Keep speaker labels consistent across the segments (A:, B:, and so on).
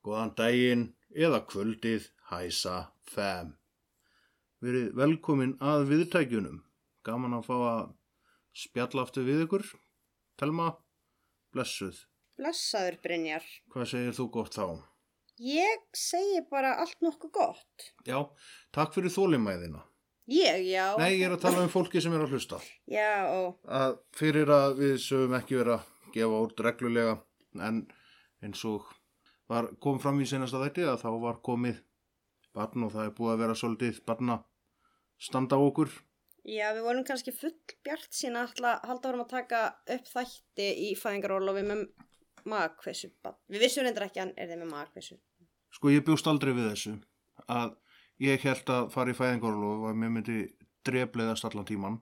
A: Góðan daginn eða kvöldið hæsa fem. Verið velkomin að viðtækjunum. Gaman að fá að spjalla aftur við ykkur. Telma, blessuð.
B: Blessaður Brynjar.
A: Hvað segir þú gott þá?
B: Ég segi bara allt nokkuð gott.
A: Já, takk fyrir þólimæðina.
B: Ég, já.
A: Nei, ég er að tala um fólki sem er að hlusta.
B: Já, ó,
A: að fyrir að við sögum ekki vera að gefa út reglulega en eins og var, kom fram í senasta þætti að þá var komið barn og það er búið að vera svolítið barna standa á okkur
B: já, við vorum kannski full bjart sína alltaf halda vorum að taka upp þætti í fæðingarólofi með magkvessu. Við vissum reyndar ekki að hann er þið með magkvessu.
A: sko ég bjóst aldrei við þessu að ég held að fara í fæðingarlof og að mér myndi drefleiðast allan tíman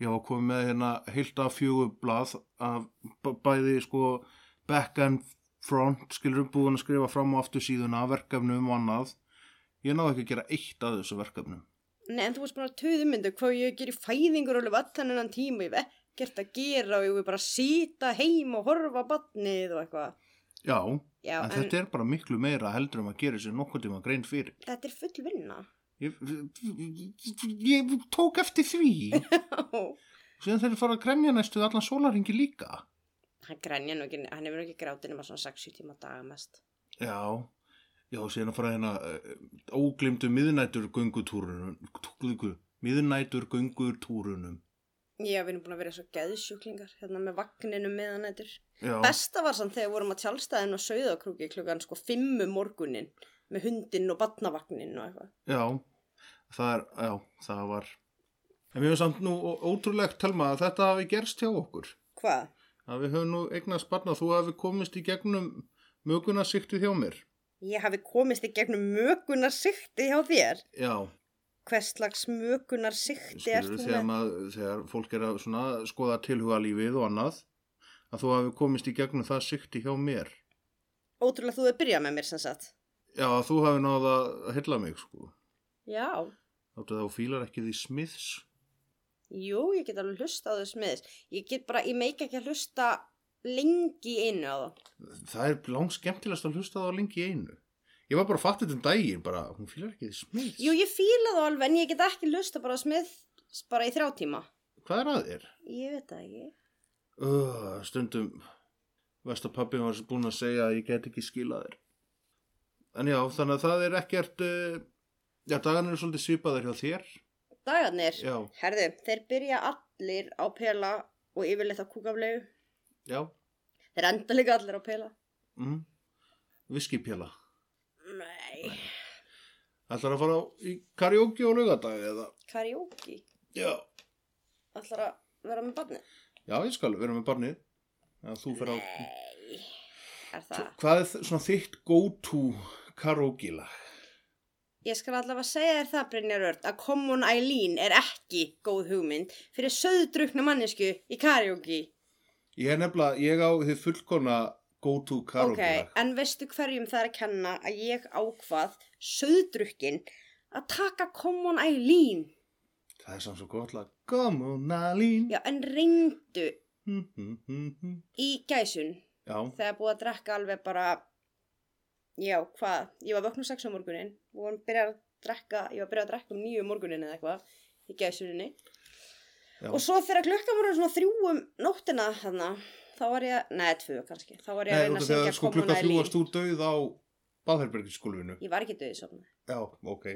A: ég var komið með hérna heilt af fjögur blað af b- bæði sko back and front skilur búin að skrifa fram og aftur síðuna verkefnum og annað ég náði ekki að gera eitt af þessu verkefnum
B: Nei, en þú varst bara töðumyndu hvað ég ger í fæðingarólofi allan ennan tíma. Ég hef ekkert að gera og ég vil bara sýta heim og horfa á badnið og eitthvað.
A: já,
B: Já,
A: en,
B: en,
A: þetta er bara miklu meira heldur um að gera sér nokkuð tíma grein fyrir
B: þetta er full vinna.
A: ég, ég tók eftir því
B: Hann
A: síðan þeir fara að kremja næstuð allan sólaringi líka
B: grænja nú ekki, hann hefur nú ekki grátið nema svona 6-7 tíma á daga mest.
A: Já, já, síðan að fara hérna uh, óglimtu miðnætur göngutúrunum, miðnætur göngutúrunum.
B: Já, við erum búin að vera svo geðsjúklingar hérna með vagninu meðanættur.
A: Já,
B: Besta var samt þegar við vorum að tjálstæðin og sauðakrúki klukkan sko fimmu morgunin með hundinn og batnavagnin og eitthvað.
A: já, það er, já, það var. En við höfum samt nú ó- ótrúlegt, Telma, að þetta hafi gerst hjá okkur.
B: Hvað?
A: Að við höfum nú eignast barna, þú hafi komist í gegnum mögunarsýktið hjá mér.
B: Ég hafi komist í gegnum mögunarsikti hjá þér.
A: Já,
B: Hvers slags mögunarsikti ert
A: skilur
B: þú
A: þegar,
B: með?
A: maður, þegar fólk er að svona skoða tilhuga lífið og annað, að þú hafi komist í gegnum það sýkti hjá mér.
B: Ótrúlega þú hefur byrjað með mér sem sagt.
A: Já, að þú hafi náða að hylla mig, sko.
B: Já.
A: Þáttu þá fílar ekki því smiðs?
B: Jú, ég get alveg hlusta á þau smiðis. Ég get bara, ég meik ekki að hlusta lengi í einu á það.
A: Það er langt skemmtilegast að hlusta það lengi í einu. Ég var bara að fatta þetta um daginn, bara, hún fílar ekki því smiðs.
B: Jú, ég fíla það alveg en ég get ekki hlusta bara á smið bara í þrjá tíma.
A: Hvað er að þér?
B: Ég veit það ekki.
A: Uh, stundum, veist að pappin var búin að segja að ég get ekki skilað þér. En já, þannig að það er ekkert, uh, já, dagarnir eru svolítið svipaðir hjá þér.
B: Dagarnir,
A: Já,
B: herðu, þeir byrja allir á pela og yfirleitt á kúkaflegu.
A: já,
B: Þeir enda líka allir á pela.
A: mm, viskipjala.
B: Nei.
A: Ætlar að fara á- í karaoke og laugadagi eða?
B: Karaoke,
A: Já.
B: allar að vera með barnið.
A: Já, ég skal vera með barnið. Já, þú fer á...
B: Nei, er það.
A: Hvað er þ- svona þitt go-to karaoke-lag?
B: Ég skal allavega segja þér það, Brynjar Örd, að Common Eileen er ekki góð hugmynd fyrir söðdrukna mannesku í karaoke.
A: Ég er nefnilega, ég á þið fullkona go-to karaoke-lag.
B: en veistu hverjum það er að kenna að ég ákvað söðdrukkin að taka Common Eileen.
A: Það er samt svo gott lag. Come on, Aline.
B: Já, en reyndu
A: Mm, mm, mm, mm.
B: í gæsun
A: Já,
B: þegar búið að drekka alveg bara já, hvað, ég var vöknum sex á morgunin og hann byrjaði að drekka ég var byrjaði að drekka um nýju morgunin eða eitthvað í gæsuninni
A: Já.
B: og svo þegar klukkan voru svona þrjú um nóttina þarna, þá var ég, neða tvö kannski þá var ég að
A: nei,
B: reyna
A: út
B: að
A: af því að
B: syngja
A: sko
B: Common
A: klukka þrjú varst
B: Eileen
A: þú döið á baðherbergiskulfinu.
B: ég var ekki döðið svona,
A: Já, ok.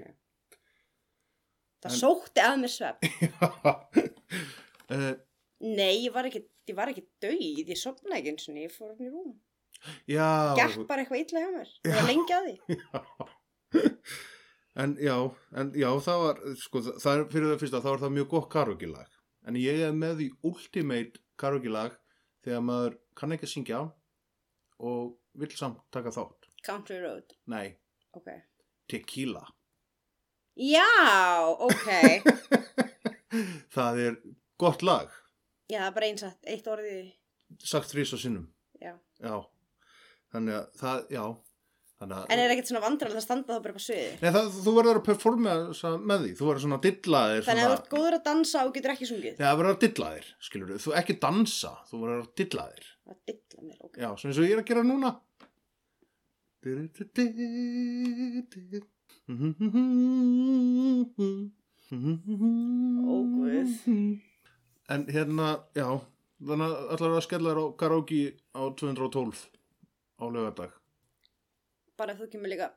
A: En-
B: það sótti að mér svefn
A: uh,
B: nei, ég var ekki, ég var ekki döið ég sopnaði ekki eins og ég fór upp í rúm
A: já.
B: gert bara eitthvað illa hjá mér, ég
A: Já.
B: var lengi að því
A: En já, en já, það var, sko, það- það er fyrir það fyrsta, þá er það mjög gott karaoke-lag. En ég er með í ultimate karaoke-lag þegar maður kann ekki að syngja og vill samt taka þátt.
B: Country Road,
A: Nei,
B: ok.
A: tequila.
B: Já, ok.
A: það er gott lag,
B: Já, það er bara einsett, eitt orðið. í því.
A: sagt þrýs og sinnum.
B: Já.
A: Já, þannig að það, já, þannig að...
B: En er ekkert svona vandræðilegt að standa þá bara upp á sviði?
A: Nei, það, þú verður að performa þessa með því, þú verður svona að dilla þér
B: Þannig að
A: svona...
B: þú ert góður að dansa og getur ekki sungið.
A: Nei, það verður að dilla þér, skilur þú, ekki dansa, þú verður að dilla þér.
B: Það dilla mér, ok.
A: Já, sem eins og ég er að gera núna. Ó,
B: guð.
A: En hérna, já, þannig að allar að skella þér á karaoke á 212 á laugardag.
B: Bara ef þú kemur líka.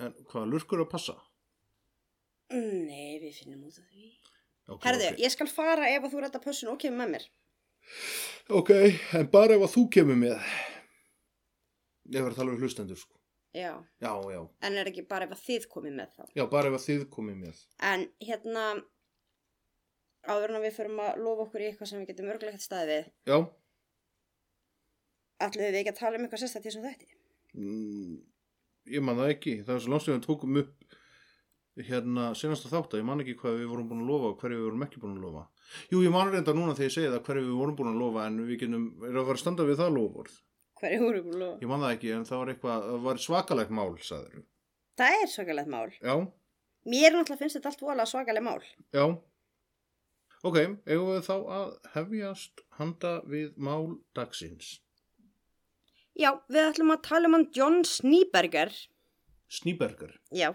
A: En hvaða lurkur er að passa?
B: "Mm, Nei, við finnum út af því.
A: Okay,
B: Herðu,
A: ok.
B: ég skal fara ef að þú rætta pössun og kemur með mér.
A: Ok, en bara ef að þú kemur með. Ég verður að tala við hlustendur, sko.
B: Já,
A: Já, já.
B: en er ekki bara ef að þið komið með þá.
A: Já, bara ef að þið komið með.
B: En hérna, áður en að við förum að lofa okkur í eitthvað sem við getum örgulegt staðið við,
A: Já.
B: ætlum við ekki að tala um eitthvað sérstætt í þessum þætti.
A: Mm, Ég man það ekki. Það er svo langt sem við tókum upp hérna senasta þátt að ég man ekki hvað við vorum búin að lofa og hverju við vorum ekki búin að lofa. Jú, ég man reynda núna þegar ég segi það hverju við vorum búin að lofa en við getum, er að fara að standa við það lofvörð.
B: Hverju voru búin að lofa?
A: Ég man það ekki en það var eitthvað, það var svakalegt mál, sagður.
B: Það er svakalegt mál.
A: Já,
B: Mér náttúrulega finnst þetta allt vola svakalegt mál.
A: já. Ok, eigum við þá að hefjast handa við mál dagsins.
B: Já, við ætlum að tala um hann John Sneeberger.
A: Sníberger,
B: Já,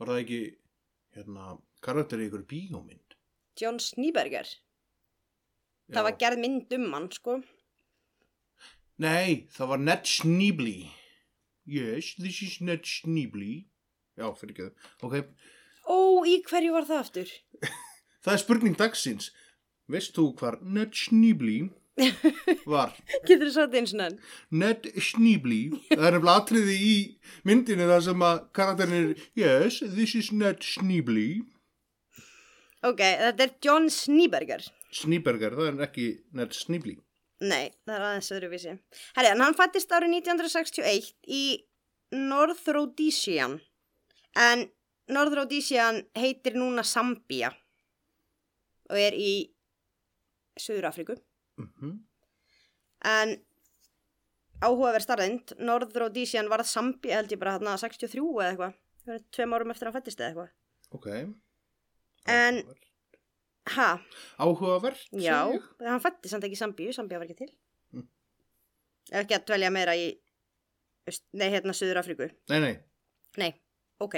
A: var það ekki, hérna, karakter í ykkur bíómynd?
B: John Sneeberger.
A: Já.
B: Það var gerð mynd um hann, sko.
A: Nei, það var Ned Schneebly. Yes, this is Ned Schneebly. Já, fyrir ekki það. Ok,
B: Ó, í hverju var það aftur?
A: það er spurning dagsins. Veist þú hvar Ned Schneebly var?
B: Getur þið sagt eins og nann?
A: Ned Schneebly, það er nefnilega atriði í myndinu þar sem að karakterin er Yes, this is Ned Schneebly.
B: Ok, þetta er John Sneeberger.
A: Schneeberger, það er ekki Ned Schneebly.
B: Nei, það er aðeins öðruvísi. Herri, en hann fættist árið 1961 í North Rhodesian. En North Rhodesian heitir núna Sambía og er í Suður Afríku.
A: Mm
B: En áhugaverð starrend, North Rhodesian varð Sambía held ég bara hérna 63 eða eitthvað. Það er Tveim árum eftir að hann fættist eða eitthvað.
A: Ok.
B: En- Ha,
A: Áhugavert, segi
B: já,
A: ég.
B: hann fættist samt ekki í Sambíu, Sambía var ekki til.
A: Mm.
B: Ef ekki að dvelja meira í, aust- nei hérna Suður Afríku.
A: Nei, nei.
B: Nei, ok.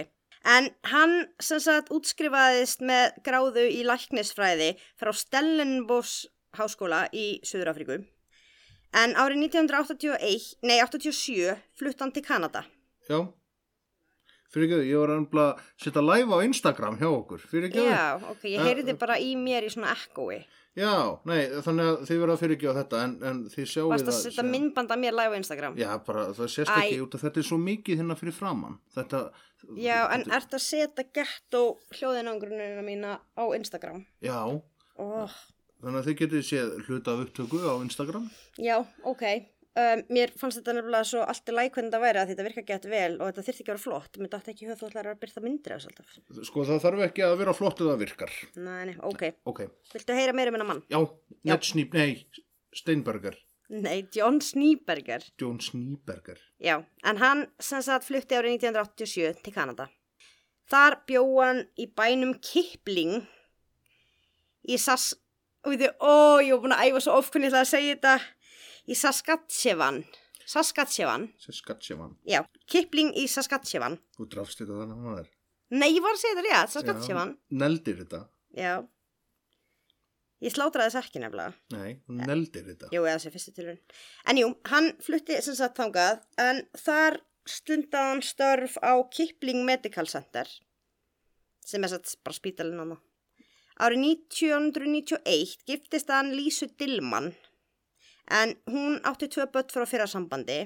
B: En hann sem sagt útskrifaðist með gráðu í læknisfræði frá Stellenbosch háskóla í Suður-Afríku. En árið 1981, nei 87, flutt hann til Kanada.
A: Já Fyrir ekki, ég var ennbla að setja live á Instagram hjá okkur Fyrir ekki
B: Já, ok, ég
A: Eh,
B: heyrði
A: eh.
B: bara í mér í svona ekkói.
A: Já, nei, þannig að þið verða að fyrir ekki á þetta En, en þið sjáu
B: Vast að setja
A: sem-
B: myndband af mér live á Instagram.
A: Já, bara það sést
B: Æ.
A: ekki út að þetta er svo mikið hérna fyrir framann Þetta
B: Já, en
A: þetta,
B: ert að setja gett og hljóðinangrunina mína á Instagram.
A: Já,
B: Oh.
A: þannig að þið getið séð hluta af upptöku á Instagram
B: Já, ok. Um, mér fannst þetta nefnilega svo allt í læg hvernig það væri að þetta virka gett vel og þetta þyrfti ekki að vera flott. Mér dætti ekki í höfð þú ætlar að byrta myndir af þessu alltaf.
A: Sko, það þarf ekki að vera flott eða virkar
B: Nei, nei, ok.
A: Ok,
B: Viltu heyra meira um hennar mann?
A: já, Netsnýp, nei, Steinberger
B: Nei, John Sneeberger.
A: John Sneeberger
B: Já, en hann sem sagt flutti árið 1987 til Kanada. Þar bjó hann í bænum Kipling í Sas... Ó, ég er búin að æfa svo oft hvernig ég ætla að segja þetta. Í Saskatchewan. Saskatchewan,
A: Saskatchewan,
B: já. Kipling í Saskatchewan.
A: þú drafst þetta þannig að maður
B: Nei, ég var að segja þetta rétt, Saskatchewan.
A: Já, Neldir þetta,
B: Já. Ég slátraði þess ekki nefnilega.
A: nei, þú neldir þetta
B: Jú, eða þessi fyrstu tilurinn. En jú, hann flutti sem sagt þangað, en þar stundaði hann störf á Kipling Medical Center, sem er satt bara spítalinn hann. Árið 1991 giftist hann Lísu Dillmann, en hún átti tvö börn frá fyrra sambandi.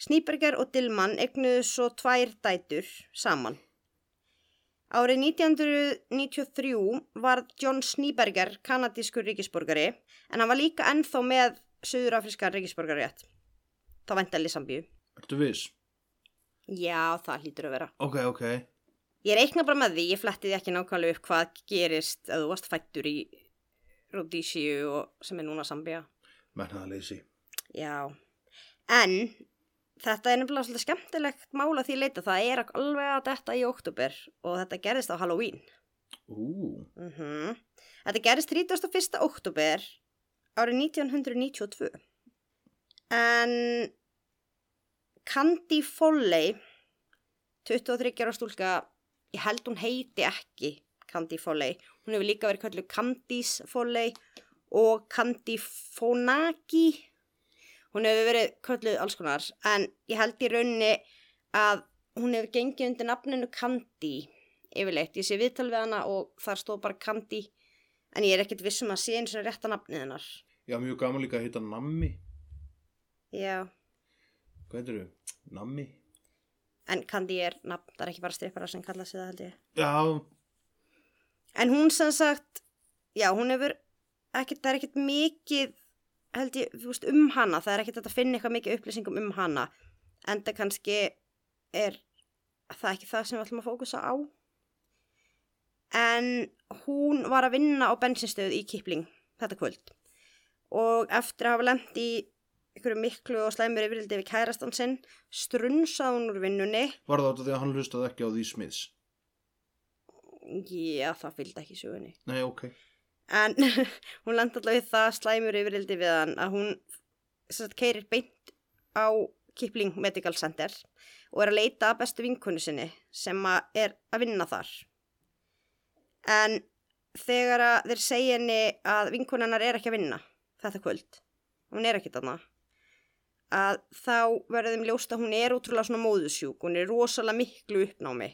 B: Sníberger og Dillmann egnuðu svo tvær dætur saman. Árið 1993 var John Sníberger kanadískur ríkisborgari en hann var líka ennþá með Suðurafrískan ríkisborgarétt. Þá vænta Lissambíu.
A: Ertu viss?
B: Já, það hlýtur að vera.
A: Ok, ok.
B: Ég reikna bara með því, ég fletti því ekki nákvæmlega upp hvað gerist að þú varst fættur í Rhodesiu og sem er núna Sambía.
A: Mennaðaleysi.
B: Já, en þetta er nefnilega svolítið skemmtilegt mála því leita. Það er alveg að detta í oktober og þetta gerðist á Halloween.
A: Ú,
B: Mm Þetta gerist 31. oktober árið 1992. En Candy Folley, 23 ára stúlka, ég held hún heiti ekki Candy Folley. Hún hefur líka verið kalluð Candice Folley og Candy Fonaki. Hún hefur verið kalluð alls konar, en ég held í raunni að hún hefur gengið undir nafninu Candy yfirleitt. Ég sé viðtal við hana og þar stóð bara Candy en ég er ekkert viss um að sé eins og rétta nafnið hennar.
A: já, mjög gaman líka að heita Nammi.
B: Já.
A: Hvað heitir þau? Nammi?
B: En Candy er nafn, það er ekki bara strippara sem kallað sig það held ég.
A: Já,
B: En hún sem sagt, já hún hefur ekkert, það er ekkert mikið held ég, þú veist, um hana. Það er ekkert hægt að finna eitthvað mikið upplýsingum um hana. Enda kannski er það ekki það sem við ætlum að fókusa á. En hún var að vinna á bensinstöð í Kipling þetta kvöld. Og eftir að hafa lent í einhverju miklu og slæmur yfirildi við kærastan sinn, strunsaði hún úr vinnunni.
A: var það átt að því að hann hlustaði ekki á því smiðs.
B: Já, það fylgdi ekki sögunni.
A: Nei, ok.
B: En hún landi allavega í það slæmur yfirildi við hann að hún satt, keirir beint á Kipling Medical Center og er að leita að bestu vinkonu sinni sem að er að vinna þar. En þegar að þeir segja henni að vinkonennar er ekki að vinna þetta kvöld, hún er ekki þarna, að þá verður þeim ljóst að hún er útrúlega svona móðusjúk, hún er í rosalega miklu uppnámi.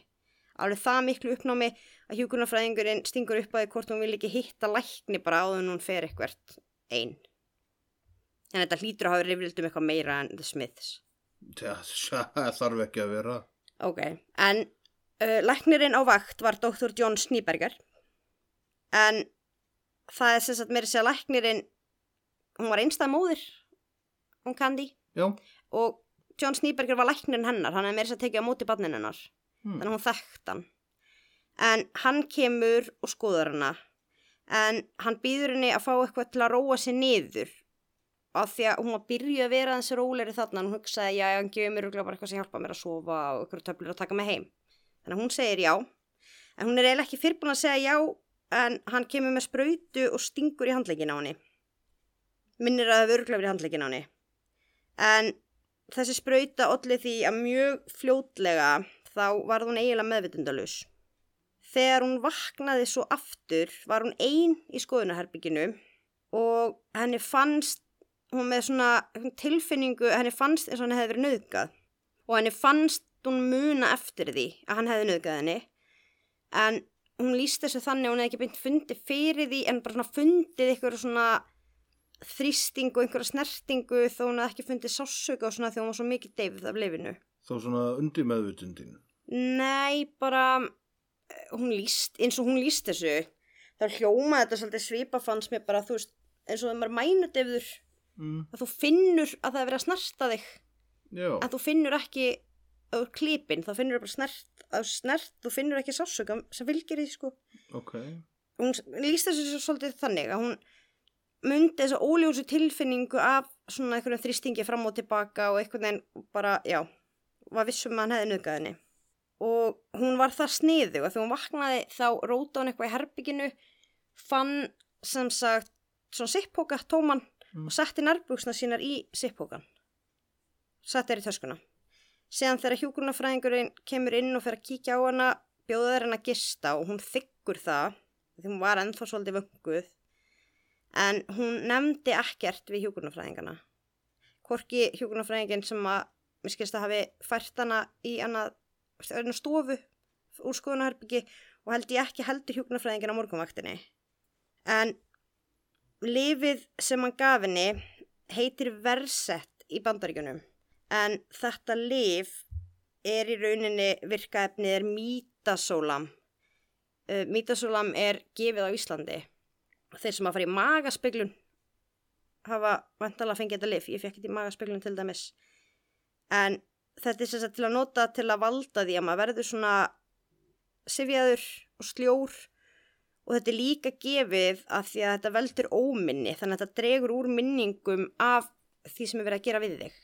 B: Alveg það miklu uppnámi að hjúkunarfræðingurinn stingur upp að því hvort hún vil ekki hitta lækni bara áður en hún fer eitthvert einn. En þetta hlýtur að hafa rifrild um eitthvað meira en The Smiths.
A: Það það þarf ekki að vera.
B: Ok, en uh, læknirinn á vakt var doktor John Sníberger. En það er sem sagt meira að segja læknirinn, hún var einstæð móðir, hún kandi.
A: Já.
B: Og John Sníberger var læknirinn hennar, hann er meira að segja tekið á móti barnin hennar.
A: Hmm.
B: þannig að hún þekkt hann. En hann kemur og skoðar hana, en hann býður henni að fá eitthvað til að róa sér niður, af því að hún var byrjuð að vera þessi róleri þarna, en hún hugsaði, já, hann gefur mér örugglega bara eitthvað sem hjálpa mér að sofa og eitthvað töflur að taka mig heim. Þannig að hún segir já, en hún er eiginlega ekki fyrrbúin að segja já, en hann kemur með sprautu og stingur í handlegin á henni. Minnir að það hafi örugglega verið í handlegin á henni. En þessi sprauta olli því að mjög fljótlega þá varð hún eiginlega meðvitundalus. Þegar hún vaknaði svo aftur var hún ein í skoðunarherbygginu og henni fannst, hún með svona tilfinningu, henni fannst eins og henni hefði verið nöðgað og henni fannst hún muna eftir því að hann hefði nöðgað henni en hún líst þessu þannig að hún hefði ekki beint fundið fyrir því en bara svona fundið ykkur svona þrýstingu, einhverja snertingu þó hún hefði ekki fundið sásöka og svona því hún var svo mikið deyfð af lifinu.
A: Þó svona undir meðvutundinu.
B: Nei, bara eh, hún líst, eins og hún líst þessu þá hljóma þetta svolítið svipa fannst mér bara, þú veist, eins og þegar maður mænudefður
A: Mm.
B: að þú finnur að það er verið að snerta þig
A: Já.
B: en þú finnur ekki að þú er klipin, þá finnur þú bara snert að þú snert, þú finnur ekki sásöka sem fylgir því sko
A: Ok.
B: hún s- lýst þessu svo- svolítið þannig að hún myndi þessa óljósu tilfinningu af svona einhverjum þrýstingi fram og tilbaka og einhvern veginn bara, já, var vissum að hann hefði nöðgað henni. Og hún var það sniðu og þegar hún vaknaði þá róta hún eitthvað í herbygginu, fann sem sagt svona sippóka tóman
A: Mm.
B: og setti nærbuksna sínar í sippókan. Setti þær í töskuna. Seðan þegar hjúkurnafræðingurinn kemur inn og fer að kíkja á hana, bjóðar henn að gista og hún þykkur það því hún var ennþá svolítið vönguð en hún nefndi ekkert við hjúkurnafræðingana hvorki hjúkurnafræðingin sem að mér skilst að hafi fært hana í annað öðru stofu úr skoðunaharbyggi og held ég ekki heldur hjúkurnafræðingin á morgunvaktinni en lifið sem hann gaf henni heitir Versett í bandaríkjunum en þetta lif er í rauninni virkaefnið er mítasólam uh, mítasólam er gefið á Íslandi þeir sem að fara í magaspeglun hafa vantalega fengið þetta lif, ég fekk þetta í magaspeglun til dæmis en þetta er sem sagt til að nota til að valda því að maður verður svona sifjaður og sljór og þetta er líka gefið að því að þetta veldur óminni þannig að þetta dregur úr minningum af því sem er verið að gera við þig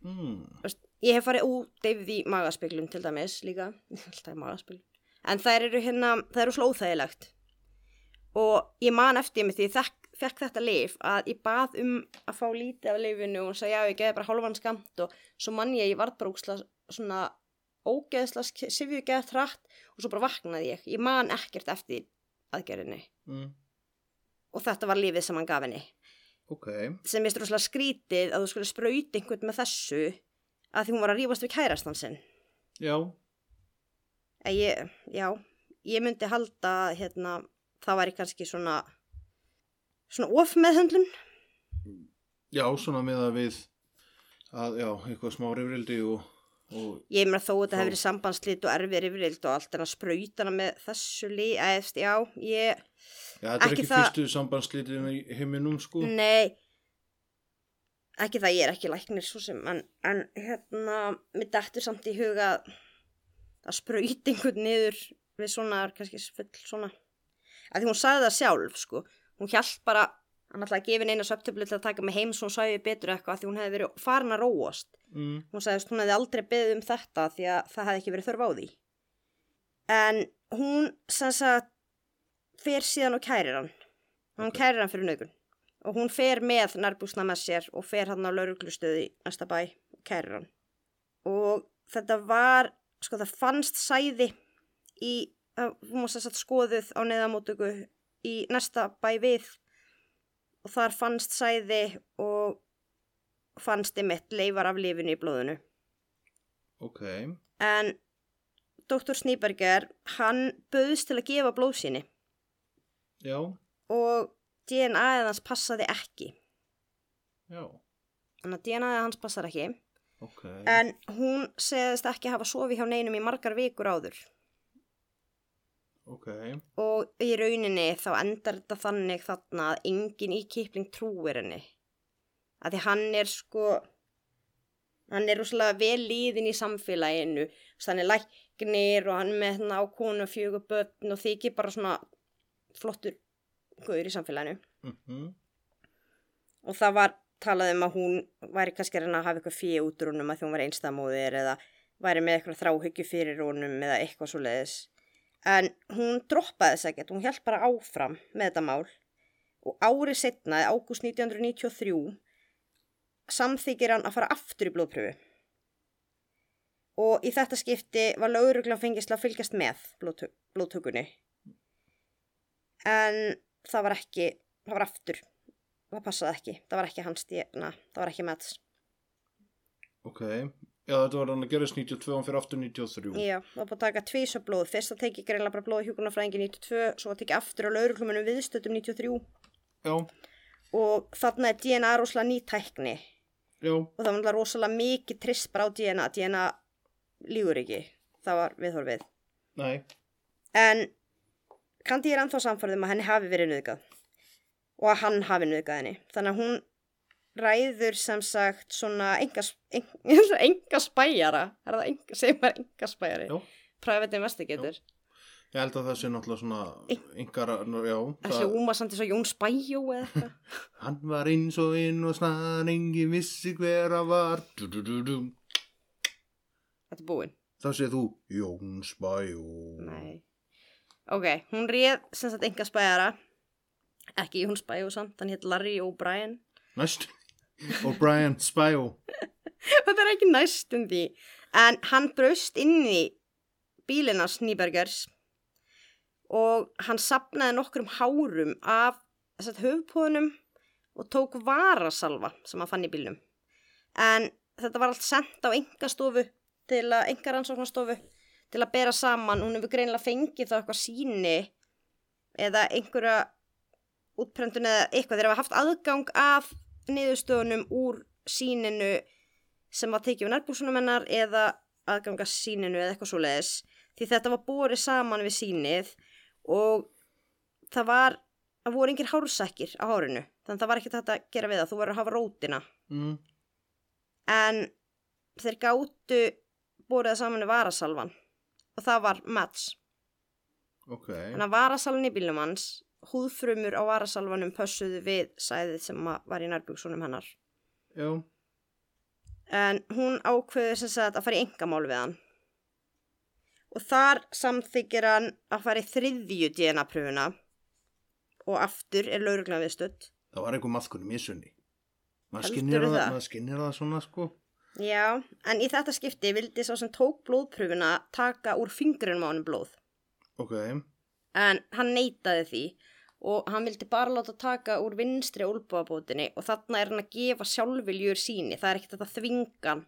A: Mm.
B: Þú veist, ég hef farið út yfir í magaspeglum til dæmis líka alltaf í magaspeglum en þær eru hérna, það eru slóþægilegt og ég man eftir mig því ég þekk, fekk þetta lif að ég bað um að fá lítið af lifinu og hún sagði já ég geði bara hálfan skamt og svo mann ég að ég var bara úksla svona ógeðsla sifju geðt hratt og svo bara vaknaði ég ég man ekkert eftir aðgerðinni
A: Mm.
B: og þetta var lifið sem hann gaf henni
A: Ok,
B: sem ég stróðslega skrítið að þú skulle sprauti einhvern með þessu að því hún var að rífast við kærastan sinn
A: já,
B: En Ég, já, ég myndi halda að, hérna, það væri kannski svona svona of meðhöndlun
A: já, svona með að við að, já, eitthvað smá rifrildi og, og
B: ég meina þó að þetta
A: Þó.
B: hefur verið sambandslit og erfið yfirreild og allt en að sprautana með þessu lí eftir, já, ég,
A: já, þetta er
B: Ekki
A: ekki
B: það- Mm.
A: fyrstu sambandslítið í heiminum, sko.
B: nei ekki það ég er ekki læknir svo sem, en, en hérna mér dættur samt í huga að- að sprauti einhvern niður við svona, er kannski full svona að því hún sagði það sjálf, sko hún hjælt bara, hann ætlaði að gefa henni eina söptöflu til að taka mig heim svo hún sæði betur eitthvað af því hún hefði verið farin að róast
A: Mm.
B: hún sagðist hún hefði aldrei beðið um þetta því að það hefði ekki verið þörf á því en hún sem sagt fer síðan og kærir hann hún
A: Ok.
B: kærir hann fyrir nögun og hún fer með nærbúsna með sér og fer hann á lauruglustöði í næsta bæ og kærir hann og þetta var sko það fannst sæði í það- hún var sem sagt skoðuð á neðamótöku í næsta bæ við og þar fannst sæði og fannst einmitt leifar af lifinu í blóðinu
A: Ok,
B: en Dr. Snýberger, hann bauðst til að gefa blóð síni
A: já,
B: og DNA-ið hans passaði ekki.
A: já,
B: Þannig að DNA-ið hans passar ekki.
A: ok.
B: En hún segðist ekki hafa sofið hjá neinum í margar vikur áður.
A: Ok,
B: Og í rauninni þá endar þetta þannig þarna að enginn í kipling trúir henni. Að því hann er sko, hann er rosalega vel líðin í samfélaginu. Þess, hann er læknir og hann er með hérna á konu og fjögur börn og þykir bara svona flottur guður í samfélaginu.
A: mhm,
B: og það var talað um að hún væri kannski að reyna að hafa eitthvað fíu út úr honum að því hún var einstamóðir eða væri með eitthvað þráhyggju fyrir honum eða eitthvað svo leiðis en hún droppaði þess ekkert, hún held bara áfram með þetta mál og árið setna, ágúst 1993 samþykir hann að fara aftur í blóðpröfu og í þetta skipti var löguruglan fengisla að fylgjast með blóðtö- blóðtökunni en það var ekki það var aftur það passaði ekki, það var ekki hans DNA, það var ekki Mats
A: ok. Já, þetta var hann að gerast 92, hann fyrir aftur 93.
B: Já, það var búið að taka tvísa blóð, fyrst að teki greinlega bara blóð hjúkunarfræðingi 92, svo að teki aftur á lauruglumunum viðstötum 93
A: Já,
B: og þarna er DNA rosalega ný tækni
A: já,
B: og það var náttúrulega rosalega mikið trist bara á DNA, DNA lígur ekki, það var viðhorfið.
A: nei,
B: En Kandi er ennþá samfærðum að henni hafi verið nöðgað og að hann hafi nöðgað henni. Þannig að hún ræður sem sagt svona engas, en, engasbæjara, er það enga, segir maður engasbæjari?
A: já.
B: Private investigator.
A: Ég held að það sé náttúrulega svona yngar, já,
B: Það
A: það,
B: hljóma samt eins og Jón Spæjó eða eitthvað.
A: hann var eins og inn og snar, engin vissi hver að var, du, du, du, du.
B: Þetta er búinn.
A: þá segir þú, Jón Spæjó.
B: Nei. Ok, hún réð sem sagt engasbæjara. Ekki Jón Spæjó samt, hann hétt Larry O'Brien.
A: Næst, O'Brien Spæjó,
B: þetta er ekki næstum því en hann braust inn í bílina Snýbergers og hann sapnaði nokkrum hárum af þessat höfupóðunum og tók varasalva sem hann fann í bílnum en þetta var allt sendt á engastofu til að enga rannsóknastofu til að bera saman, hún hefur greinilega fengið þá eitthvað síni eða einhverja útprentun eða eitthvað, þeir hafa haft aðgang af niðurstöðunum úr síninu sem var tekið við nærbúsunum hennar eða aðganga síninu eða eitthvað svo leiðis því þetta var borið saman við sínið og það var það voru engir hársekkir á hárinu þannig þannig að það var ekki þetta að gera við það, þú verður að hafa rótina
A: mm,
B: en þeir gáttu búrið það saman við varasalvan og það var mats
A: ok,
B: þannig að varasalvan í bílum hans húðfrumur á varasalvanum pössuðu við sæðið sem að var í nærbjúksunum hennar
A: já,
B: en hún ákveður sem sagt að fara í engamál við hann og þar samþykir hann að fara í þriðju DNA pröfuna og aftur er lauruglan viðstödd
A: það var einhver maðkunni misunni maður
B: Heldurðu
A: skinnir það,
B: það?
A: maður skinnir það svona sko
B: já, en í þetta skipti vildi sá sem tók blóðpröfuna taka úr fingrunum á hann blóð
A: ok,
B: en hann neitaði því og hann vildi bara láta taka úr vinstri úlbúabótinni og þarna er hann að gefa sjálfviljur síni það er ekkert hægt að þvinga hann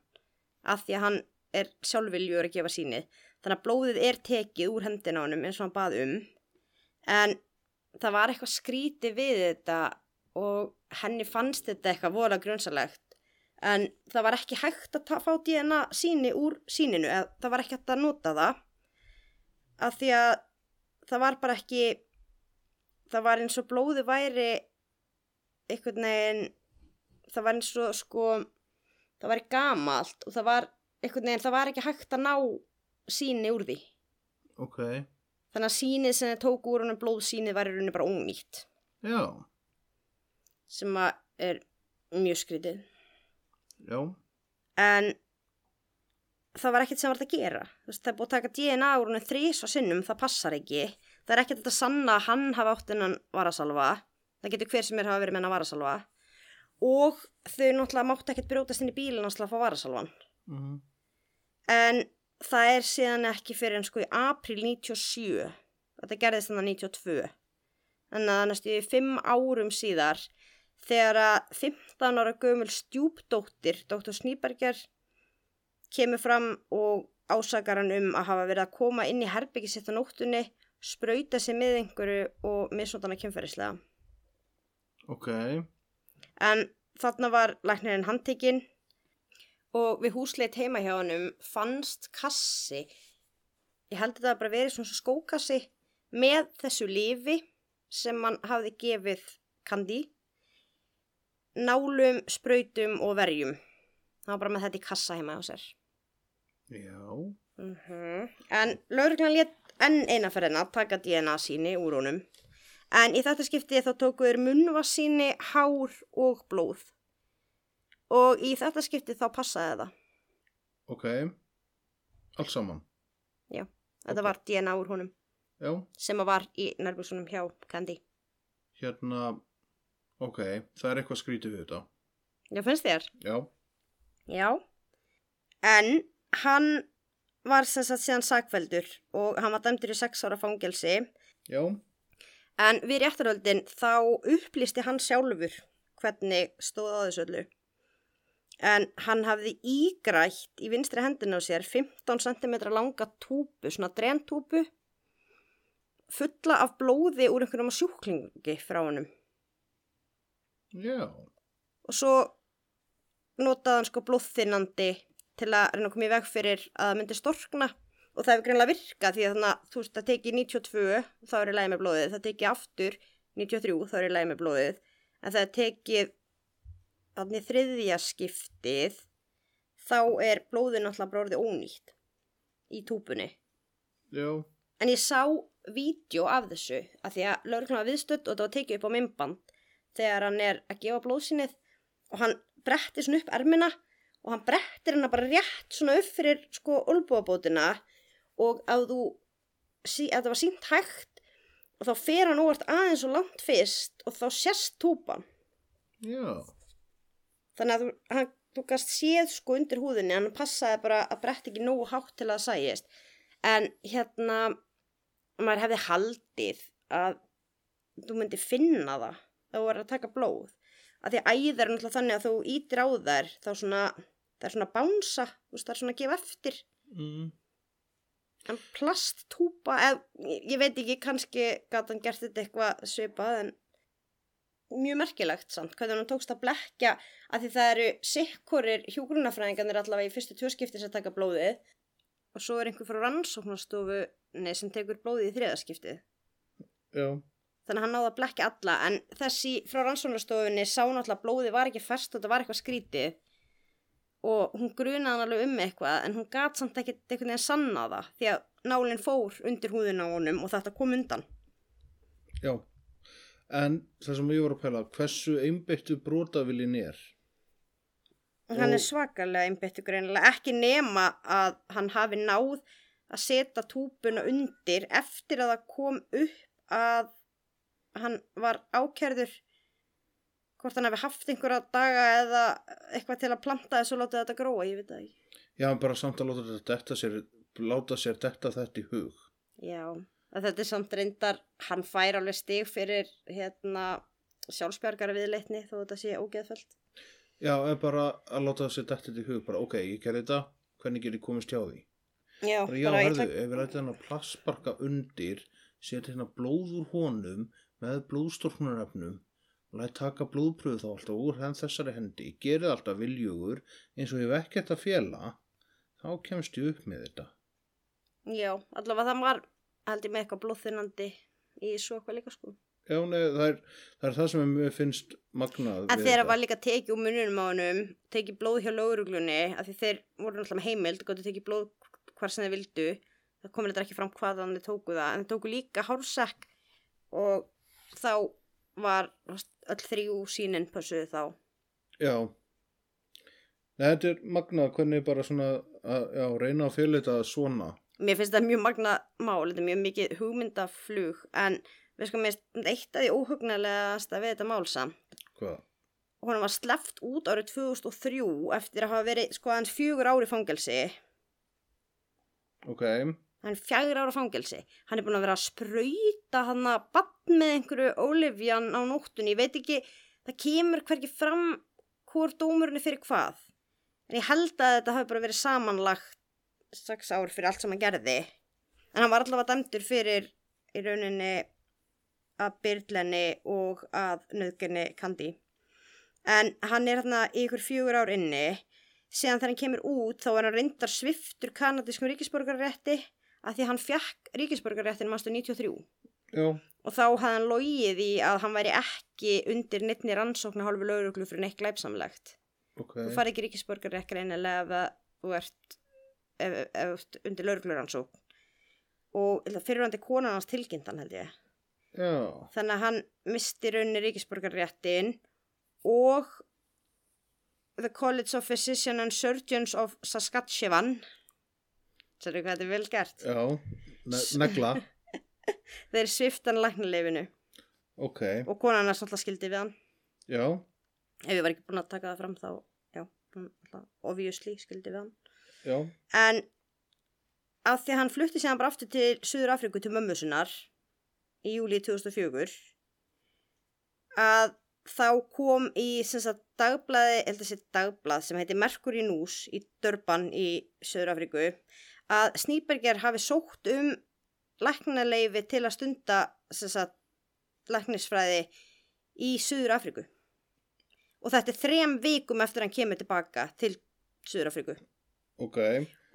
B: af því að hann er sjálfviljur að gefa síni þannig að blóðið er tekið úr hendina á honum eins og hann bað um en það var eitthvað skrítið við þetta og henni fannst þetta eitthvað vola grunsalegt en það var ekki hægt að ta- fá DNA síni úr síninu eða það var ekki hægt að nota það af því að það var bara ekki það var eins og blóði væri einhvern veginn það var eins og sko það var gamalt og það var einhvern veginn það var ekki hægt að ná síni úr því
A: ok
B: þannig að sínið sem þið tóku úr honum blóðsínið var í rauninni bara ónýtt
A: já,
B: sem að er mjög skrítið
A: já,
B: en það var ekkert sem var þetta að gera Þú veist, það er búið að taka DNA úr henni þrís og sinnum það passar ekki, það er ekkert þetta sanna að hann hafa átt hennan varasalva það getur hver sem er hafa verið með hennan varasalva og þau náttúrulega máttu ekkert brjótast inn í bílinn hans til að fá varasalvan
A: mm,
B: en það er síðan ekki fyrir en sko í april 97 þetta gerðist þannig 92 en að næstu í fimm árum síðar þegar að 15 ára gömul stjúpdóttir Dr. Snýberger kemur fram og ásakar hann um að hafa verið að koma inn í herbyggi sitt á nóttunni sprauta sig með einhverju og misnótana kemferðislega
A: ok
B: en þarna var læknirinn handtekinn og við húsleit heima hjá honum fannst kassi ég held að það bara verið svona eins og skókassi með þessu lifi sem hann hafði gefið kandi nálum, sprautum og verjum það var bara með þetta í kassa heima hjá sér
A: já,
B: -hmm. En lauruglan létt enn eina ferðina taka DNA síni úr honum. En í þetta skipti þá tóku þeir munnvassíni, hár og blóð. Og í þetta skipti þá passaði það.
A: ok allt saman,
B: Þetta
A: Ok.
B: var DNA úr honum
A: já
B: sem að var í nærbjörnsunum hjá Candy.
A: hérna, ok það er eitthvað skrítið við þetta
B: Já, finnst þér?
A: já,
B: Já. En hann var sem sagt síðan sakveldur og hann var dæmdur í sex ára fangelsi.
A: já,
B: En við réttaröldin þá upplýsti hann sjálfur hvernig stóð á þessu öllu. En hann hafði ígrætt í vinstri hendina á sér 15 cm langa túpu, svona drentúpu, fulla af blóði úr einhverjum sjúklingi frá honum.
A: já
B: Og svo notaði hann sko blóðþinnandi til að reyna að koma í veg fyrir að það myndi storkna og það hefur greinlega virkað því að þannig að þú veist það teki 92 þá er í lægi með blóðið, það teki aftur 93 þá er í lægi með blóðið en það teki þannig þriðja skiptið þá er blóðið náttúrulega bróðið ónýtt í túpunni
A: já,
B: en ég sá vídeo af þessu að því að lögreglun var viðstödd og það var tekið upp á mymband þegar hann er að gefa blóðsinnið og hann brettir svona upp ermina og hann brettir hennar bara rétt svona upp fyrir sko olbúabótina og að þú sí, að það var sínt hægt og þá fer hann óvart aðeins og langt fyrst og þá sérst túpan
A: já
B: þannig að þú, hann, þú gast séð sko undir húðinni hann passaði bara að brett ekki nógu hátt til að það sæjist en hérna maður hefði haldið að þú myndi finna það þegar þú verður að taka blóð að því að æðar er náttúrulega þannig að þú ítir á þær þá svona, það er svona bánsa þú veist, það er svona að gefa eftir
A: mm,
B: en plasttúpa eð, ég ég veit ekki, kannski gat hann gert þetta eitthvað svipað en mjög merkilegt samt hvernig hann tókst að blekja að því það eru sikkurir hjúgrunafræðingarnir allavega í fyrstu tjóskipti sem taka blóðið og svo er einhver frá rannsóknastofu sem tekur blóðið í þriðaskiptið
A: já,
B: þannig að hann náði að blekja alla en þessi frá rannsóknarstofunni sá náttúrulega að blóðið var ekki fast og þetta var eitthvað skrítið og hún grunaði hann alveg um eitthvað en hún gat samt ekki einhvern veginn sanna það því að nálinn fór undir húðina á honum og þetta kom undan
A: Já, en það sem ég voru að pæla, hversu einbyttu brotavilin er?
B: og hann
A: Og-
B: er svakalega einbyttu greinilega ekki nema að hann hafi náð að setja túpuna undir eftir að það kom upp að hann var ákærður hvort hann hefði haft einhverja daga eða eitthvað til að planta þessu og láta þetta gróa, ég veit það ekki
A: Já, en bara samt að láta þetta detta sér, láta sér detta þetta í hug.
B: Já, að þetta er samt reyndar, hann fær alveg stig fyrir hérna sjálfsbjargara viðleitni þó þetta sé ógeðfælt.
A: Já, en bara að láta sér detta þetta í hug, bara ok, ég gerði þetta, hvernig get ég komist hjá því?
B: Já,
A: Bara já,
B: bara ég
A: herðu,
B: tek-
A: ef við lætum hennar plassbarka undir, setja hérna blóð úr honum með blóðstórknunarefnum, læt taka blóðpröðu þá alltaf úr henn þessari hendi, gerið alltaf viljugur eins og ég hef ekkert að fjela, þá kemst ég upp með þetta.
B: Já, allavega það var held ég með eitthvað blóðþinnandi í svo eitthvað líka sko.
A: Já, nei, það er það, er það sem mér finnst magnað.
B: En
A: við
B: þeirra
A: þetta.
B: var líka tekið úr mununum á honum, tekið blóð hjá löguruglunni, af því þeir voru náttúrulega með heimild, gotu tekið blóð hvar sem þeir vildu. Það komið þetta ekki fram hvað hann þeir tóku það, en þeir tóku líka hársekk og þá var þú veist, öll þrjú sínin pössuðu þá.
A: Já. Nei, þetta er magnað hvernig bara svona að já, reyna að fjela þetta svona.
B: Mér finnst það mjög magna mál, þetta er mjög mikið hugmyndaflug, en við sko mér finnst eitt af því óhugnalegast að við þetta mál samt.
A: Hvað?
B: Hún var sleppt út árið 2003 eftir að hafa verið sko aðeins fjögur ári fangelsi.
A: Ok.
B: Hann er fjögur ára fangelsi. Hann er búin að vera að sprauta hann að bann með einhverju Olivjan á nóttunni. Ég veit ekki, það kemur hverki fram hvort dómurinn er fyrir hvað. En ég held að þetta hafi bara verið samanlagt sex ár fyrir allt sem hann gerði. En hann var allavega dæmdur fyrir í rauninni að byrlenni og að nöðgenni kandi. En hann er hérna í ykkur fjögur ár inni. Síðan þegar hann kemur út þá er hann reyndar sviftur kanadískum ríkisborgarrétti að því að hann fjakk ríkisborgarréttin mástu 93
A: Já.
B: og þá hafði hann logið í að hann væri ekki undir neittni rannsóknar hálfu lauruglu fyrir neitt glæpsamlegt.
A: Ok.
B: Þú farið ekki ríkisborgarrétt greinilega ef að þú ert ef, ef, ef, þú ert undir lauruglu rannsókn og fyrirvændi konan hans tilkynntan held ég.
A: Já.
B: Þannig að hann misti í rauninni ríkisborgarréttin og The College of Physicians and Surgeons of Saskatchewan. Sérðu hvað þetta er vel gert?
A: Já. Ne negla.
B: Þeir sviftan læknarleifinu
A: Ok.
B: og konan hans alltaf skildi við hann.
A: Já.
B: Ef ég var ekki búin að taka það fram þá, já, hún alltaf obviously skildi við hann.
A: Já.
B: En af því að hann flutti síðan bara aftur til Suður Afríku til mömmu sinnar í júli 2004 að þá kom í sem sagt dagblaði, ég held að sé dagblað sem heiti Mercury News í Durban í Suður Afríku að Sníberger hafi sótt um læknaleifi til að stunda sem sagt læknisfræði í Suður Afríku og þetta er þrem vikum eftir að hann kemur tilbaka til Suður Afríku
A: Ok.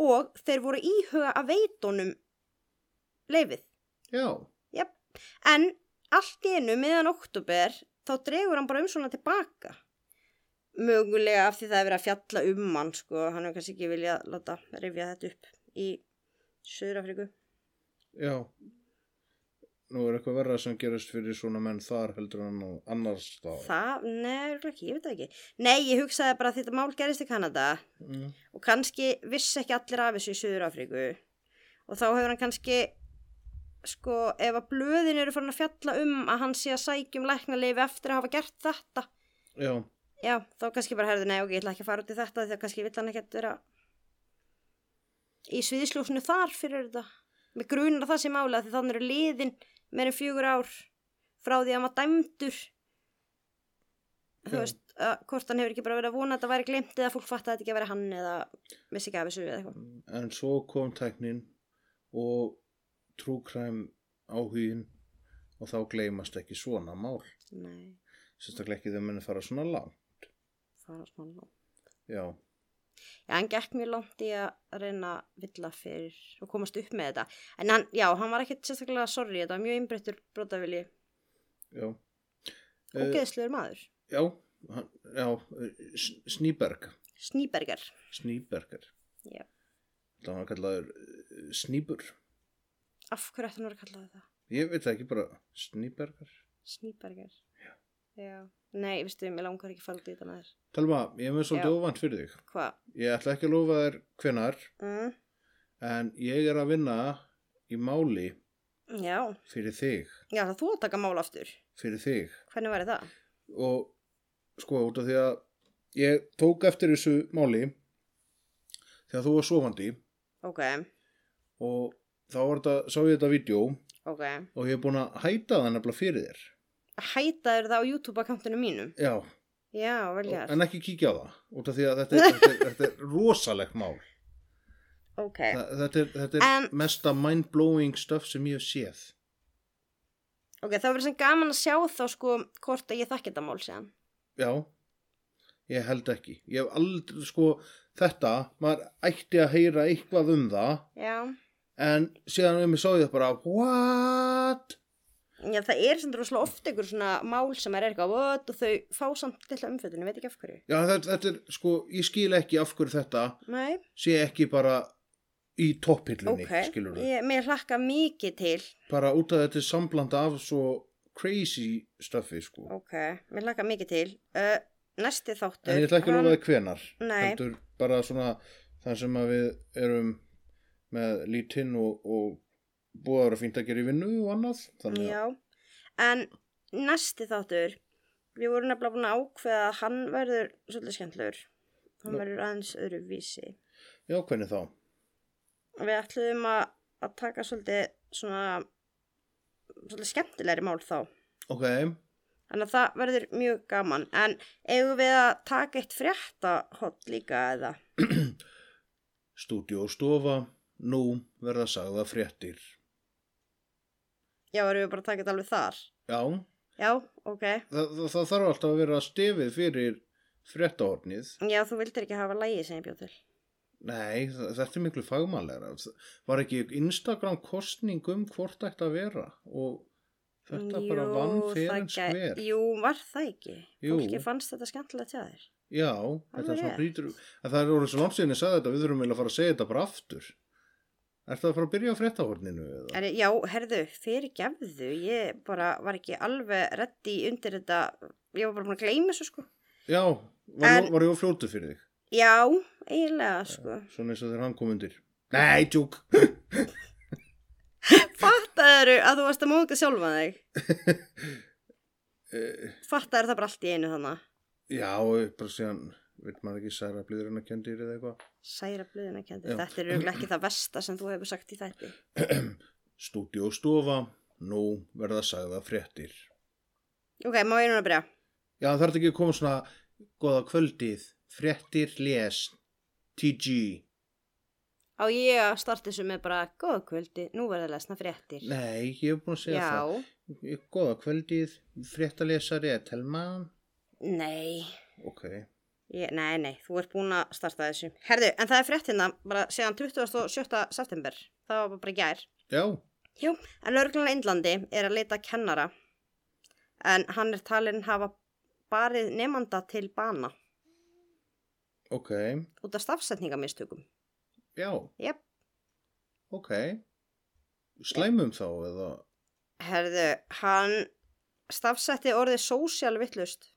B: og þeir voru íhuga að veitunum leifið.
A: Já.
B: Jep. En allt í einu meðan oktober þá dregur hann bara um svona tilbaka. Mögulega af því það er verið að fjalla um hann sko, hann hefur kannski ekki viljað láta rifja þetta upp í Suðurafriku.
A: Já. Nú er eitthvað verra sem gerist fyrir svona menn þar heldur en á annars staðar.
B: Það, nefnilega ekki, ég veit það ekki. Nei, ég hugsaði bara að þetta mál gerist í Kanada
A: Mm.
B: og kannski vissi ekki allir af þessu í Suðurafriku og þá hefur hann kannski sko ef að blöðin eru farin að fjalla um að hann sé að sækjum læknarleifi eftir að hafa gert þetta
A: Já.
B: já þá kannski bara herði nei ok ég ætla ekki að fara út í þetta því að kannski vill hann ekkert vera í sviðisljósinu þar fyrir þetta með grunar það sem álega því þannig eru liðin meir en fjögur ár frá því að maður dæmdur
A: Já.
B: þú veist að hvort hann hefur ekki bara verið að vona að þetta væri glimt eða fólk fatta að þetta ekki að vera hann eða vissi ekki af þessu eða eitthvað
A: En svo kom tæknin og trúkræm áhugin og þá gleymast ekki svona mál.
B: Nei,
A: Sérstaklega ekki þegar menn fara svona langt.
B: það var smá langt.
A: Já.
B: Já, hann gekk mjög langt í að reyna að villa fyrir og komast upp með þetta. En hann, já, hann var ekkert sérstaklega sorry, þetta var mjög innbreyttur brotavili.
A: já.
B: og
A: Eh,
B: geðsluður maður
A: já, hann, já, eh, S- Sníberg,
B: Sníberger
A: Sníberger.
B: Já.
A: Það var kallaður eh, Sníbur.
B: af hverju ætti hann að vera kallaði það
A: Ég veit það ekki bara, Sníberger.
B: Sníberger já. nei, veistu, mér langar ekki að fara út í þetta með þér
A: Telma, ég er með svolítið
B: Já.
A: óvænt fyrir þig.
B: hvað?
A: Ég ætla ekki að lofa þér hvenar,
B: Mm.
A: en ég er að vinna í máli
B: já,
A: fyrir þig,
B: já, það þú að taka mál aftur
A: fyrir þig.
B: hvernig væri það?
A: og sko út af því að ég tók eftir þessu máli þegar þú var sofandi
B: ok,
A: og þá var þetta, sá ég þetta vídeo og
B: ok
A: ég er búin að hæta það nefnilega fyrir þér
B: hæta þér það á YouTube-akkantinu mínum
A: já,
B: já, vel
A: og,
B: ég
A: en ekki kíkja á það út af því að þetta er, þetta er, þetta er rosalegt mál
B: ok,
A: Þa, þetta er, þetta er
B: En-
A: mesta mind-blowing stuff sem ég hef séð
B: ok, það verður sem gaman að sjá þá sko hvort að ég þekki þetta mál séðan
A: já, ég held ekki ég hef aldrei, sko þetta, maður ætti að heyra eitthvað um það
B: já,
A: en síðan um ég sá ég það bara what?
B: já það er sem droslega oft einhver svona mál sem er eitthvað what, og þau fá samt til umfjöldinu, veit ekki af hverju
A: Já, þetta, þetta er sko, ég skil ekki af hverju þetta
B: nei,
A: sé ekki bara í topphillunni,
B: ok,
A: okay. skilur við.
B: ég, mér hlakka mikið til
A: Bara út af þetta er samblanda af svo crazy stuffi, sko.
B: ok, mér hlakka mikið til uh, næsti þáttur
A: En ég ætla ekki að
B: hann-
A: lofa þið hvenar.
B: Hérna- Nei.
A: Heldur bara svona þar sem að við erum með lítinn og, og búið að vera fínt að gera í vinnu og annað. Þannig að,
B: Já, en næsti þáttur, við vorum nefnilega búin að ákveða að hann verður svolítið skemmtlur. Hann
A: Nú.
B: verður aðeins öðruvísi.
A: já, hvernig þá?
B: Við ætluðum að, að taka svolítið svona, svolítið skemmtilegri mál þá.
A: Ok,
B: Þannig að það verður mjög gaman. En eigum við að taka eitt fréttahott líka eða?
A: stúdíu og stofa, nú verða sagða fréttir.
B: Já, erum við bara að taka þetta alveg þar?
A: Já,
B: Já, ok.
A: það, það, það þarf alltaf að vera stefið fyrir fréttahornið.
B: Já, þú vildir ekki hafa lægi sem ég bjóð til.
A: Nei, þa- þetta er miklu fagmælega. Var ekki Instagram kostning um hvort þetta að vera og þetta bara vann fyrir
B: það
A: en
B: gæ-
A: skver.
B: Jú, var það ekki?
A: Jú.
B: Fólki fannst þetta skemmtilegt hjá þér.
A: Já, þetta er
B: Alveg
A: svona
B: rétt.
A: brýtur. En það er orðið svo langt síðan ég sagði þetta, við þurfum vel að fara að segja þetta bara aftur. Er það að fara að byrja á fréttahorninu eða?
B: Er, já, herðu, fyrir gefðu, ég bara var ekki alveg reddi undir þetta, ég var bara búin að gleyma þessu sko.
A: Já, var,
B: En-
A: en... var ég á fljótu fyrir þig?
B: Já, eiginlega sko.
A: Svona eins og þegar hann kom undir. Nei, tjúk!
B: Fattaður að þú varst að móka sjálfa þig.
A: Eh,
B: Fattaður það bara allt í einu þannig.
A: Já, bara síðan, veit maður ekki, særa blíður en að kendir eða eitthvað.
B: Særa blöðina kendi,
A: Já.
B: þetta er örugglega ekki það versta sem þú hefur sagt í þætti.
A: Stúdíu og stofa, nú verða sagða fréttir.
B: Ok, má ég núna byrja?
A: Já, það þarf ekki að koma svona góða kvöldið, fréttir les, TG.
B: Á ég að starta þessu með bara, góða kvöldi, nú verður að lesna fréttir.
A: Nei, ég hef búin að segja
B: Já,
A: það. Góða kvöldið, fréttalesari er telma.
B: nei,
A: Ok,
B: ég, nei, nei, þú ert búin að starta þessu. Herðu, en það er fréttina bara séðan 27. september, það var bara í gær.
A: já,
B: Jú, en lögreglan í Indlandi er að leita að kennara en hann er talin hafa barið nefnda til bana
A: ok,
B: út af stafsetningamistökum.
A: já,
B: Jep,
A: ok. Slæmum þá eða,
B: herðu, hann stafsetti orðið sósjál vittlust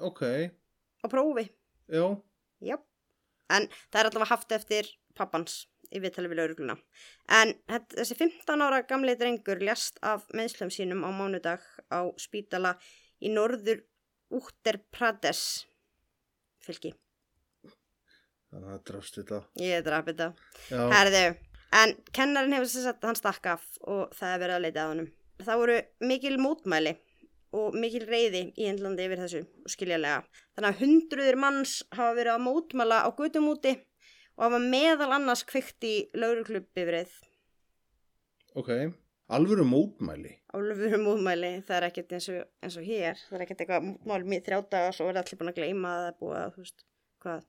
A: ok,
B: á prófi.
A: já,
B: Jep, en það er allavega haft eftir pappans í viðtali við lögregluna. En þetta- þessi 15 ára gamli drengur ljast af meðslum sínum á mánudag á spítala í norður Úttar Pradesh fylki.
A: þannig að drafst þetta.
B: Ég draf þetta.
A: Já,
B: Herðu, en kennarinn hefur sem sagt hann stakk af og það er verið að leita að honum. Það voru mikil mótmæli og mikil reyði í Indlandi yfir þessu og skiljanlega. Þannig að hundruður manns hafa verið að mótmæla á götum úti og hafa meðal annars kveikt í lauruglubifrið
A: ok, alvöru mótmæli.
B: álfur mótmæli. Það er ekkert eins og, eins og hér, það er ekkert eitthvað mótmæli mér þrjá daga og svo verið allir búin að gleyma að það er búið að, þú veist, hvað,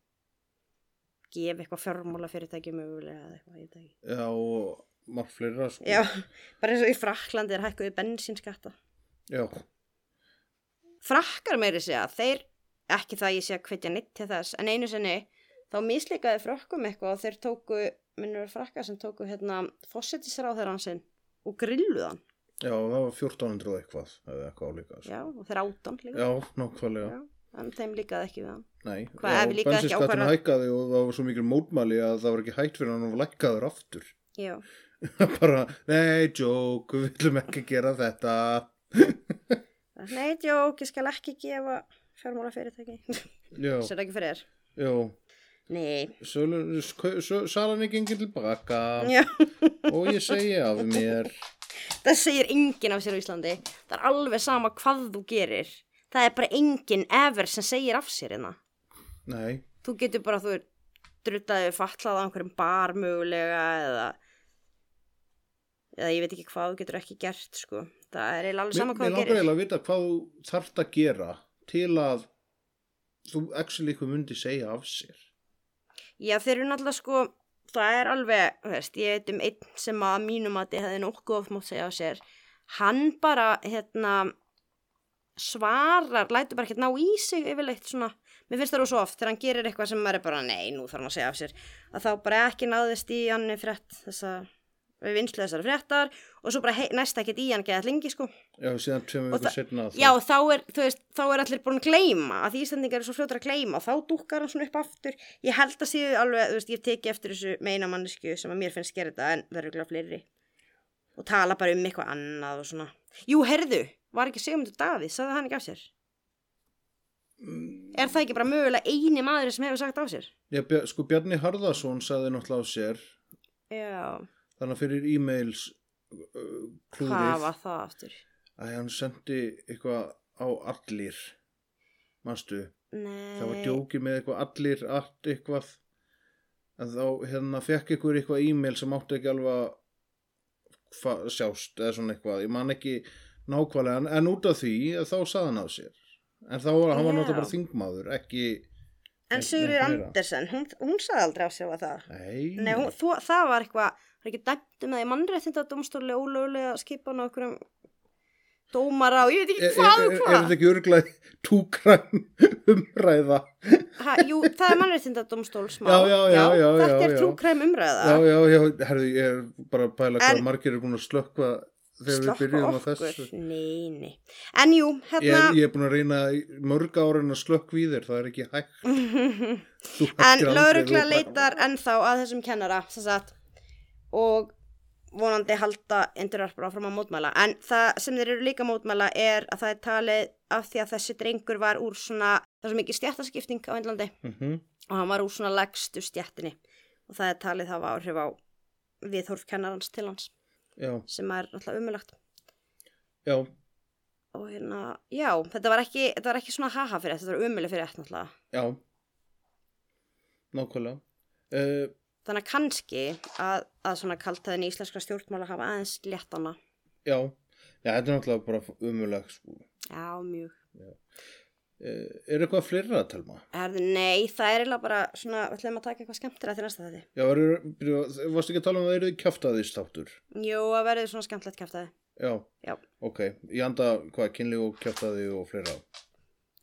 B: gefa eitthvað fjármála fyrirtæki mögulega eða eitthvað í dag.
A: Já, og margt fleira, sko.
B: Já, bara eins og í Fraklandi er hækkuði bensínskatta.
A: Já,
B: frakkar meiri segja, þeir ekki það ég sé að hvetja neitt til þess en einu sinni þá mislíkaði frökkum eitthvað og þeir tóku, minnur frakkar sem tóku hérna fósettisráðherran sinn og grilluðan,
A: Já, það var 1400 og eitthvað, eða eitthvað álíka. sko.
B: já, og þeir áttan líka,
A: Já, nákvæmlega.
B: Já. en þeim líkaði ekki við hann
A: Nei,
B: Hvað, ef líka ekki
A: bensinskattin
B: ákvarða-
A: hækkaði og það var svo mikil mótmæli að það var ekki hægt fyrir hann og lækkaður aftur.
B: já,
A: Bara, nei, joke, við viljum ekki gera þetta.
B: nei, djók, ég skal ekki gefa fjármála fyrirtæki
A: Já,
B: sér ekki fyrir þér,
A: já,
B: nei
A: sölu, kau- sö- salan er gengið til baka
B: já,
A: og ég segi af mér.
B: það segir enginn af sér á Íslandi það er alveg sama hvað þú gerir það er bara enginn ever sem segir af sér hérna
A: Nei,
B: þú getur bara, þú er druttaði við fatlað á einhverjum bar mögulega eða eða ég veit ekki hvað þú getur ekki gert sko, það er eiginlega alveg
A: mér
B: sama
A: mér
B: hvað þú
A: langar
B: gerir
A: eiginlega að vita hvað þú þarft að gera til að þú actually eitthvað myndi segja af sér.
B: já þeir eru náttúrulega sko það er alveg, þú veist, ég veit um einn sem að mínum að þið hefði nokkuð oft mátt segja á sér, hann bara hérna svarar, lætur bara ekki ná í sig yfirleitt svona, mér finnst það rosa oft þegar hann gerir eitthvað sem maður er bara, nei, nú þarf hann að segja af sér að þá bara ekki náðist í hann frétt þessa, við vinslu þessar fréttar og svo bara hei, næsta ekkert í hann geðað lengi sko,
A: Já, síðan tveim
B: Og
A: vikur
B: það-
A: setna.
B: já þá er, þú veist, þá er allir búin að gleyma að því Íslandingar eru svo fljótar að gleyma og þá dúkkar hann svona upp aftur ég held að séu alveg, þú veist, ég teki eftir þessu meina mannesku sem að mér finnst gera þetta en það eru glæð fleiri og tala bara um eitthvað annað og svona jú, herðu, var ekki Sigmundur Davíð, sagði hann ekki af sér er það ekki bara mögulega eini maður sem hefur sagt af sér
A: Já, Bjar- sko Bjarni Harðarsson sagði náttúrulega á sér
B: já,
A: þannig að fyrir e-mails uh,
B: hvað
A: klúðið
B: var það aftur
A: að hann sendi eitthvað á allir manstu,
B: Nei.
A: það var djóki með eitthvað allir allt eitthvað en þá hérna fekk ykkur eitthvað e-mail sem átti ekki alveg að fa- sjást eða svona eitthvað, ég man ekki nákvæmlega, en, en út af því að þá sagði hann af sér en þá var hann var
B: Já.
A: náttúrulega bara þingmaður ekki,
B: en
A: Nei,
B: Sigurður
A: nei, meira.
B: Andersen, hún, hún sagði aldrei af sér var það
A: nei,
B: Nei, hún, þú, það var eitthvað, var ekki dæmt um það í mannréttinda dómstóli ólögulega skipan á einhverjum dómara og ég veit
A: Er,
B: ekki
A: er,
B: hvað
A: er,
B: og
A: e-, er þetta
B: hvað.
A: ekki örglega túkræn umræða?
B: Ha, jú, það er mannréttinda dómstólsmá.
A: Já, já, já, já,
B: Þetta
A: já,
B: er
A: já.
B: trúkræm
A: Já,
B: umræða.
A: já, já, herðu, ég er bara að pæla hvað
B: En-
A: margir er búin að slökka þegar við byrjum á þessu.
B: Nei, nei. En jú,
A: Ég er,
B: hérna,
A: ég er búin að reyna í mörg árin að slökk við þér, það er ekki hægt. Þú hættir
B: en
A: aldrei, þú
B: lögregla
A: bara-
B: leitar ennþá að þessum kennara, sem sagt, og vonandi halda endurarpar áfram að mótmæla. En það sem þeir eru líka að mótmæla er að það er talið af því að þessi drengur var úr svona, það er svo mikið stjættaskipting á Índlandi.
A: Mhm.
B: og hann var úr svona legstu stjættinni og það er talið hafa áhrif á viðhorf kennarans til hans
A: Já,
B: sem er alltaf umulagt
A: já,
B: og hérna, já, þetta var ekki, þetta var ekki svona haha fyrir þetta, þetta var umulig fyrir þetta alltaf
A: já. Nákvæmlega. Uh,
B: þannig að kannski að, að svona kaltaðin í íslenska stjórnmála hafa aðeins létt hana
A: já, já, þetta er náttúrulega bara umulag, sko.
B: já, mjög
A: Uh, er eitthvað fleira að telma?
B: Herðu, nei, það er eiginlega bara svona, við ætlum að taka eitthvað skemmtilega til næsta þetta
A: Já, er, varstu ekki að tala um að það eru kjaftaðist þáttur?
B: Jú, að verði svona skemmtilegt kæftæði
A: Já,
B: Já,
A: ok. Ég anda hvað, kynlíf og kjaftaði og fleira.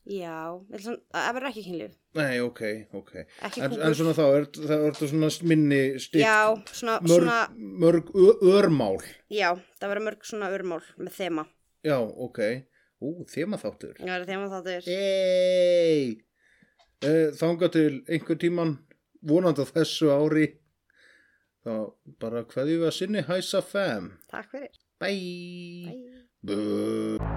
B: já, við ætlum svona, að verður ekki kynlíf
A: Nei, ok, ok.
B: Ekki
A: En,
B: kúkur.
A: en svona þá, er, það er það svona minni stikk,
B: Já, svona,
A: mörg,
B: svona,
A: mörg ö- örmál.
B: já, það verður mörg svona urmál með þema
A: Já, ok. Ú, þema þáttur.
B: Já, það er þema þáttur
A: Ey! Eh, Þanga til einhver tíman, vonandi á þessu ári. Þá bara hverju við að sinni hæsa fem.
B: Takk fyrir
A: Bye!
B: Bye.
A: Bye.